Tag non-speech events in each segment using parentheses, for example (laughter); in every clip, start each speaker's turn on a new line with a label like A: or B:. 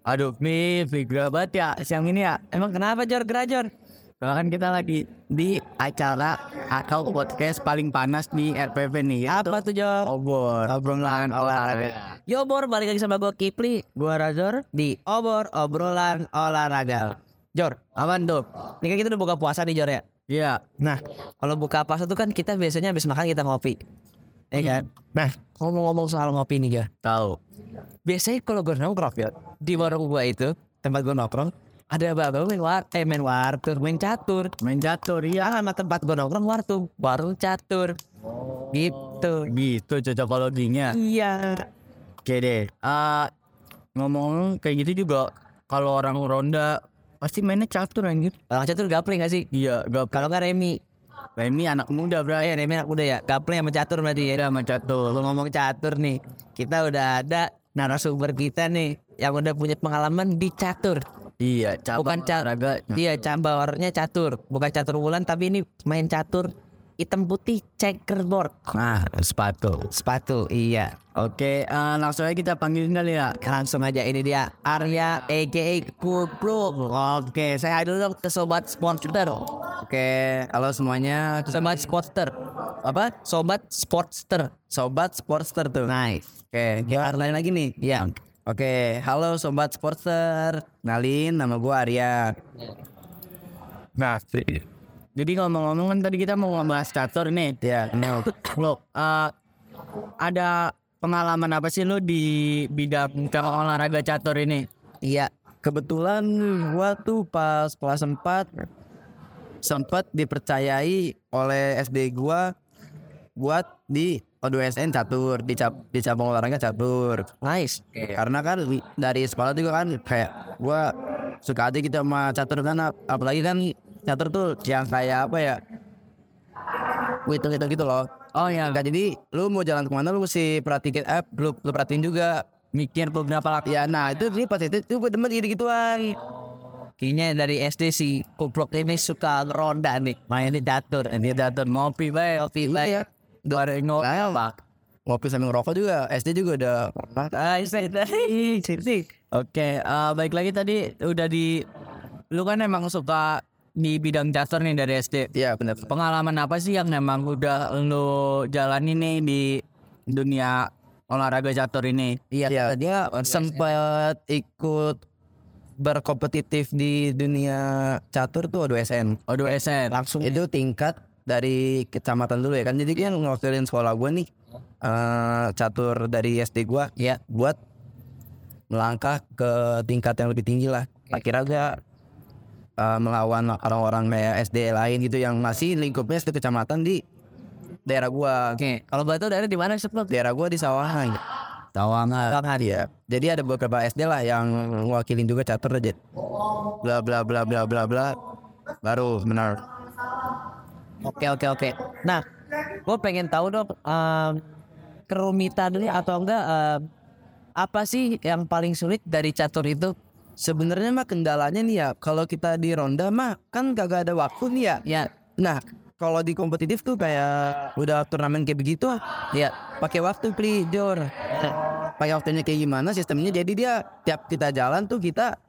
A: Aduh, Mi, figura banget ya siang ini ya.
B: Emang kenapa Jor Gerajor?
A: Soalnya kan kita lagi di acara atau podcast paling panas di RPP nih. yaitu
B: Apa tuh Jor?
A: Obor, obrolan
B: Iya.
A: olahraga.
B: Yobor balik lagi sama gue Kipli
A: Gua Razor,
B: di Obor Obrolan Olahraga. Jor,
A: aman tuh.
B: ini kan kita udah buka puasa nih Jor ya.
A: Iya,
B: Nah, kalau buka puasa tuh kan kita biasanya habis makan kita ngopi. Ya kan? Nah, ngomong-ngomong soal ngopi nih Jor.
A: tahu.
B: Biasanya kalau gue nongkrong ya, di warung gua itu, tempat gue nongkrong, ada bapak main war, eh main warteg, main catur. Ya,
A: Main catur, iya.
B: Sama tempat gue nongkrong warteg, warung catur. Gitu.
A: Gitu cocokologinya.
B: Iya.
A: Oke deh. Ah, ngomong-ngomong kayak gitu juga kalau orang ronda pasti mainnya catur anjir.
B: Orang catur gaple gak sih?
A: Iya, gak
B: Kalau nggak Remi,
A: Nah, ini anak muda, Bro.
B: eh Remi anak muda ya, gaple sama catur berarti ya.
A: Iya, main catur.
B: Kalau ngomong catur nih, kita udah ada narasumber kita nih yang udah punya pengalaman di catur.
A: Iya, cabang
B: Bukan ca-
A: olahraga.
B: Dia cambarnya catur, bukan catur bulan tapi ini main catur hitam putih checkerboard.
A: Nah, sepatu.
B: Sepatu, iya.
A: Oke, eh, langsung aja kita panggilin kali ya.
B: Langsung aja ini dia Arya aka Kubro. Oke, saya dulu dong ke sobat sportster.
A: Oke, halo semuanya.
B: Sobat sportster. Apa? Sobat sportster.
A: Sobat Sportster tuh.
B: Nice.
A: Oke, kita lain lagi nih.
B: Iya.
A: Oke, halo Sobat Sportster. Nalin, nama gua Arya. Nah, jadi ngomong-ngomong kan tadi kita mau ngebahas catur nih. Ya, no. Lo, eh, ada pengalaman apa sih lo di bidang olahraga catur ini?
B: Iya.
A: Kebetulan gua tuh pas kelas 4 sempat dipercayai oleh SD gua buat di O2SN catur, di, cap, di cabang olahraga catur.
B: Nice.
A: Karena kan wi- dari sekolah juga kan kayak gua suka aja gitu sama catur kan ap- apalagi kan catur tuh yang kayak apa ya? hitung hitung gitu loh. Oh ya. Nah, jadi lu mau jalan kemana lu mesti perhatiin eh lu, lu perhatiin juga mikir beberapa latihan. Nah itu sih pas itu, itu gue demen gitu gituan.
B: Kayaknya dari SD si Kublok ini suka ronda nih.
A: Mainin catur, ini catur ngopi bay, ngopi bay. Goreng ngopi. Iya, Nah, Ngopi sambil ngerokok juga, SD juga udah
B: Ah, itu itu.
A: Oke, eh, baik lagi tadi udah di lu kan emang suka di bidang catur nih dari SD.
C: Iya benar.
A: Pengalaman apa sih yang emang udah lu jalani nih di dunia olahraga catur ini?
C: Iya, dia sempat ikut berkompetitif di dunia catur tuh aduh SN.
A: Aduh SN.
C: Langsung itu tingkat dari kecamatan dulu ya kan. Jadi kan ngewakilin sekolah gue nih eh, catur dari SD gue
B: Iya.
C: buat melangkah ke tingkat yang lebih tinggi lah. Akhirnya gue eh, melawan orang-orang kayak SD lain gitu yang masih lingkupnya satu kecamatan di daerah gue.
B: Oke, kalau batu daerah di mana sebelum?
C: Daerah gue di Sawahan.
A: Tawangan.
C: Bang Hadi ya. Jadi ada beberapa SD lah yang wakilin juga charter aja. Bla bla bla bla bla bla. Baru benar.
B: Oke, oke, oke. Nah, gue pengen tahu dong em, kerumitan ini atau enggak em, apa sih yang paling sulit dari catur itu?
C: Sebenarnya mah kendalanya nih ya, kalau kita di ronda mah kan kagak ada waktu nih ya.
B: Ya,
C: Nah, kalau di kompetitif tuh kayak udah turnamen kayak begitu ah,
B: ya.
C: pakai waktu pri Jor. Pakai waktunya kayak gimana sistemnya? Jadi dia tiap kita jalan tuh kita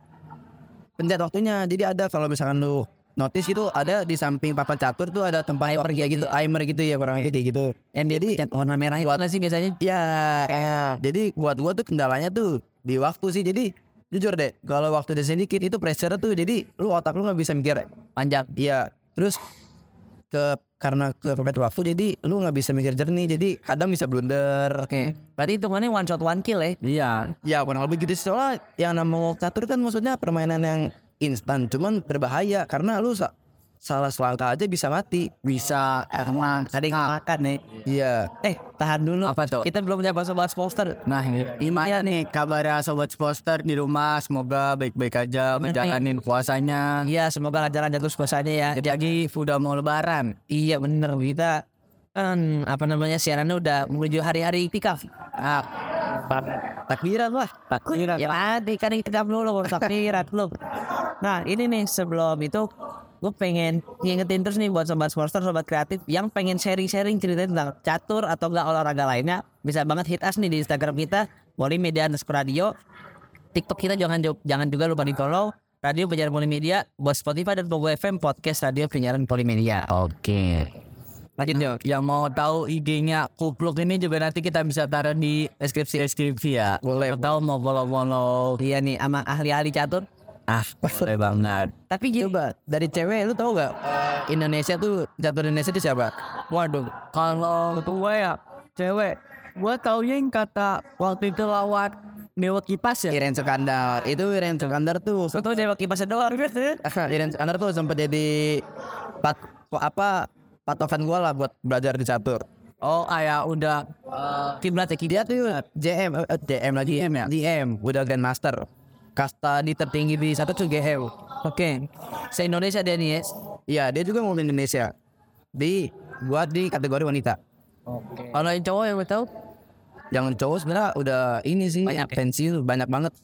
C: pencet waktunya. Jadi ada kalau misalkan lu notice itu ada di samping papan catur tuh ada tempat
B: Iya.
C: kayak gitu, timer gitu ya kurang lebih kayak gitu. And jadi
B: Cat warna merah itu nggak sih biasanya? Iya.
C: Ya, jadi buat gua tuh kendalanya tuh di waktu sih. Jadi jujur deh, kalau waktu di sedikit itu pressure tuh jadi lu otak lu nggak bisa mikir panjang. Iya. Terus ke karena kepepet waktu jadi lu nggak bisa mikir jernih. Jadi kadang bisa blunder.
B: Oke. Berarti hitungannya one shot one kill ya?
A: Iya.
C: Ya kurang lebih gitu sih. soalnya yang namanya catur kan maksudnya permainan yang instan cuman berbahaya karena lu sa- salah selangkah aja bisa mati.
A: Bisa emang
B: Tadi makan nih.
C: Iya.
B: Eh, tahan dulu.
A: Apa tuh?
B: Kita belum nyapa sobat poster.
A: Nah, gimana nih kabar ya, sobat poster di rumah? Semoga baik-baik aja menjalanin puasanya.
B: Iya, semoga lancar-lancar terus puasanya ya.
A: Jadi udah mau lebaran.
B: Iya bener kita kan apa namanya siarannya udah menuju hari-hari iktikaf.
A: Ah, Iya.
C: Takbiran lah.
B: Takbiran. Ya nanti kan iktikaf dulu baru takbiran belum. Nah ini nih sebelum itu gue pengen ngingetin terus nih buat sobat sportster, sobat kreatif yang pengen sharing-sharing cerita tentang catur atau enggak olahraga lainnya bisa banget hit us nih di Instagram kita Wali Media underscore radio TikTok kita jangan jo- jangan juga lupa di follow Radio Penyiaran Polimedia buat Spotify dan Pogo FM podcast Radio Penyiaran Polimedia.
D: Oke.
B: Lanjut yuk.
A: Yang mau tahu IG-nya Kupluk ini juga nanti kita bisa taruh di deskripsi deskripsi ya.
B: Boleh.
A: Atau mau follow-follow.
B: Iya nih sama ahli-ahli catur.
A: Ah, boleh banget.
B: Tapi gini, Eh,
A: Coba dari cewek lu tahu gak Indonesia tuh catur Indonesia itu siapa?
B: waduh, kalau gue ya cewek, gue taunya yang kata waktu itu lawan Dewa Kipas ya.
A: Iren Sukandar. Itu Iren Sukandar tuh eh,
B: Gue tau Dewa Kipas doang.
A: Iren Sukandar tuh sempat jadi pat apa patokan gua lah buat belajar di catur.
B: Oh, kayak udah kiblat ya
A: Dia
B: kiblat.
A: tuh JM eh, eh, JM lagi DM ya. DM udah grandmaster. Kasta di tertinggi di satu tuh GM.
B: Oke, se Indonesia dia nih ya.
A: Iya, dia juga mau ke Indonesia. Di gua di kategori wanita.
B: Kalau yang cowok yang gue tau,
A: Yang cowok sebenarnya udah ini sih
B: Banyak ya?
A: pensil banyak banget.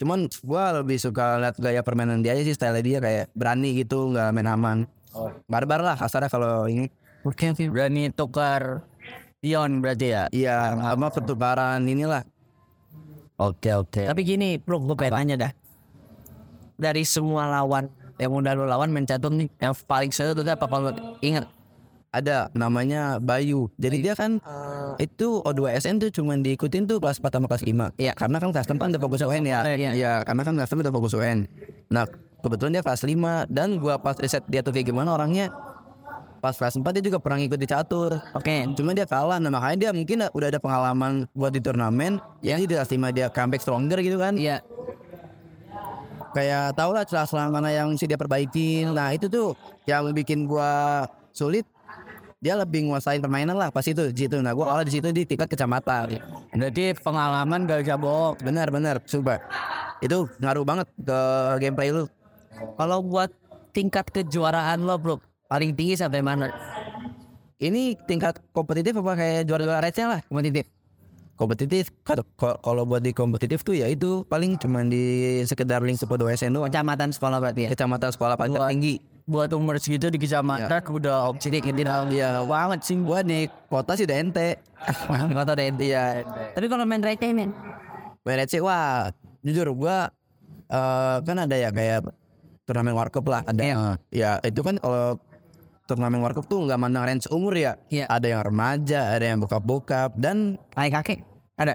A: Cuman gua lebih suka lihat gaya permainan dia aja sih style dia kayak berani gitu, nggak main aman. Barbar lah kasarnya kalau ini.
B: Oke,
A: Oh.
B: oke.
A: Berani tukar pion berarti ya? Iya, sama pertukaran inilah. Oke oke.
B: Tapi gini, bro, gue pengen nanya dah. Dari semua lawan yang udah lu lawan main catur nih, yang paling seru tuh apa kalau lu ingat?
A: Ada namanya Bayu. Jadi dia kan
B: Eh.
A: itu O2SN tuh cuman diikutin tuh kelas 4 sama kelas 5.
B: Iya.
A: Karena kan kelas 4 udah fokus UN ya.
B: Eh, iya.
A: karena kan kelas 4 udah fokus UN. Nah, kebetulan dia kelas 5 dan gua pas riset dia tuh kayak gimana orangnya. Pas kelas 4 dia juga pernah ngikut di catur.
B: Oke,
A: Cuma dia kalah, nah makanya dia mungkin udah ada pengalaman buat di turnamen. Jadi di kelas 5 dia comeback stronger gitu kan.
B: iya.
A: kayak tau lah celah-celah mana yang mesti dia perbaikin nah itu tuh yang bikin gua sulit dia lebih nguasain permainan lah pas itu di situ nah gua kalah di situ di tingkat kecamatan
B: Berarti pengalaman gak bisa bohong.
A: benar-benar coba itu ngaruh banget ke gameplay lu
B: Kalau buat tingkat kejuaraan lo, bro, paling tinggi sampai mana?
A: ini tingkat kompetitif apa kayak juara-juara receh lah
B: Kompetitif.
A: kompetitif Kalau- kalau kalau buat di kompetitif tuh ya itu paling cuman di sekedar link sepeda SN doang
B: Kecamatan sekolah berarti ya.
A: kecamatan sekolah paling tinggi
B: Buat umur segitu di
A: Iya.
B: kecamatan udah obsidi kita
A: ya banget sih gua di kota sih udah (laughs) ente
B: Kota deh.
A: iya
B: Tapi kalau main receh men,
A: WRC wah jujur gua eh, kan ada ya kayak turnamen warkop lah ada
B: Iya.
A: ya itu kan kalau turnamen warkop tuh nggak mandang range umur ya
B: Iya.
A: ada yang remaja ada yang bokap-bokap dan
B: kayak kakek.
A: ada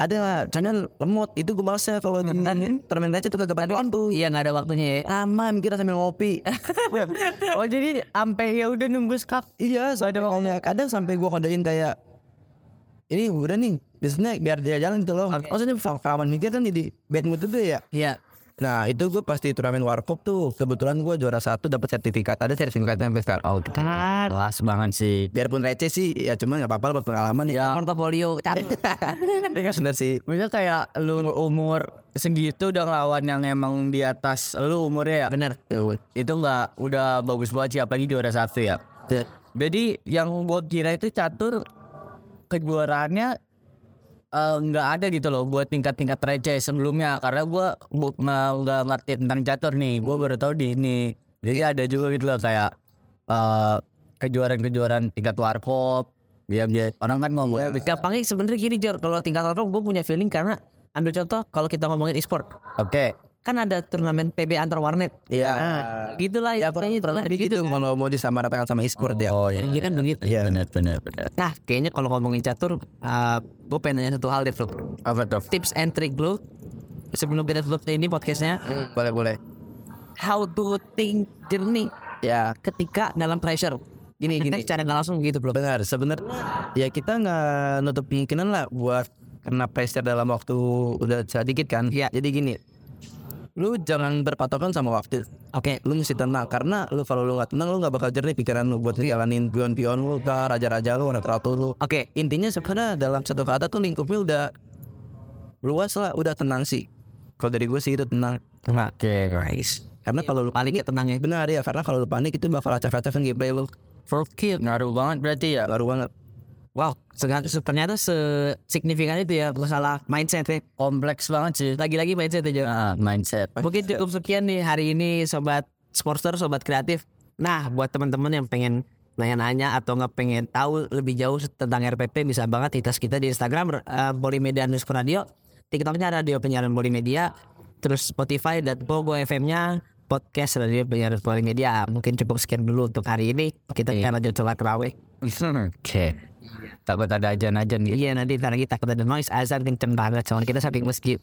A: ada lah channel lemot itu gue malesnya kalau di turnamen receh tuh kagak pada tuh
B: Iya nggak ada waktunya ya.
A: aman kita sambil
B: (laughs)
A: ngopi
B: oh jadi sampai ya udah nunggu skap.
A: iya soalnya makanya kadang sampai gua kodein kayak ini udah nih biasanya biar dia jalan tuh loh maksudnya kawan mikir kan di bad mood itu ya
B: Iya.
A: Nah itu gue pasti turnamen warkop tuh kebetulan gue juara satu dapat sertifikat ada sertifikatnya sampai sekarang. gitu.
D: Oh, kelas banget sih.
A: Biarpun receh sih ya cuman nggak apa-apa lah buat pengalaman ya.
B: Portofolio. Iya.
A: Bener sih.
B: Maksudnya kayak lu umur segitu udah ngelawan yang emang di atas lu umurnya ya Bener Itu nggak udah bagus banget sih apalagi juara satu ya
A: Iya.
B: Jadi yang gue kira itu catur kejuaraannya eh, nggak ada gitu loh buat tingkat-tingkat receh sebelumnya karena gue nggak ngerti tentang catur nih gue baru tahu di ini jadi ada juga gitu loh kayak eh, kejuaraan-kejuaraan tingkat warkop
D: Dia dia
B: orang kan ngomong
A: Iya.
B: gampangnya sebenarnya gini Jor kalau tingkat level gue punya feeling karena ambil contoh kalau kita ngomongin e-sport
D: Oke.
B: kan ada turnamen PB antar warnet
A: Iya.
B: Nah, gitulah
A: Ya
B: ya
A: pernah
B: pokoknya
A: pernah
B: pernah
A: gitu kalau mau disamaratakan sama e-sport ya.
D: Oh iya.
B: kan begitu
D: Iya benar benar benar.
B: nah kayaknya kalau ngomongin catur gue pengen nanya satu hal deh bro
D: Apa tuh?
B: tips and trick lu sebelum kita tutup ini podcastnya
A: Boleh boleh.
B: how to think jernih
A: Ya
B: ketika dalam pressure gini gini cara nggak langsung gitu bro
A: benar sebenarnya ya kita nggak nutup kemungkinan lah buat kena pressure dalam waktu udah sedikit kan.
B: Iya.
A: Jadi gini lu jangan berpatokan sama waktu
B: oke
A: lu mesti tenang karena lu kalau lu nggak tenang lu nggak bakal jernih pikiran lu buat jalanin pion-pion lu kah raja-raja lu ada teratur lu
B: oke
A: intinya sebenarnya dalam satu kata tuh lingkupnya udah luas lah udah tenang sih kalau dari gue sih itu tenang
D: Oke
B: guys
A: karena kalau lu
B: paling tenang ya
A: benar ya karena kalau lu panik itu bakal acak-acakan gameplay lu
B: for
A: Iya,
B: kill
D: Ngaruh banget berarti ya.
A: baru banget
B: Wow, sega- se- ternyata sesignifikan itu ya masalah mindset ya.
D: Kompleks banget sih.
B: Lagi-lagi mindset aja.
D: Ah, mindset.
B: Mungkin cukup sekian nih hari ini sobat sportster, sobat kreatif. Nah, buat teman-teman yang pengen nanya-nanya atau nggak pengen tahu lebih jauh tentang RPP bisa banget hitas kita di Instagram eh, Polimedia underscore Radio TikToknya Radio Penyiaran Polimedia, terus Spotify dan Pogo FM-nya podcast Radio Penyiaran Polimedia. Mungkin cukup sekian dulu untuk hari ini. Kita akan lanjut sholat terawih.
A: (laughs) Oke. Iya. Takut ada ajan-ajan gitu.
B: Iya nanti ntar kita takut ada noise azan kenceng banget soalnya kita samping masjid.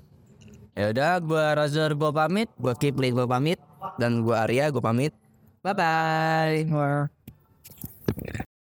A: Ya udah, gua Razor gua pamit.
B: Gue Kipli, gue pamit.
E: Dan gue Arya, gue pamit.
B: Bye bye.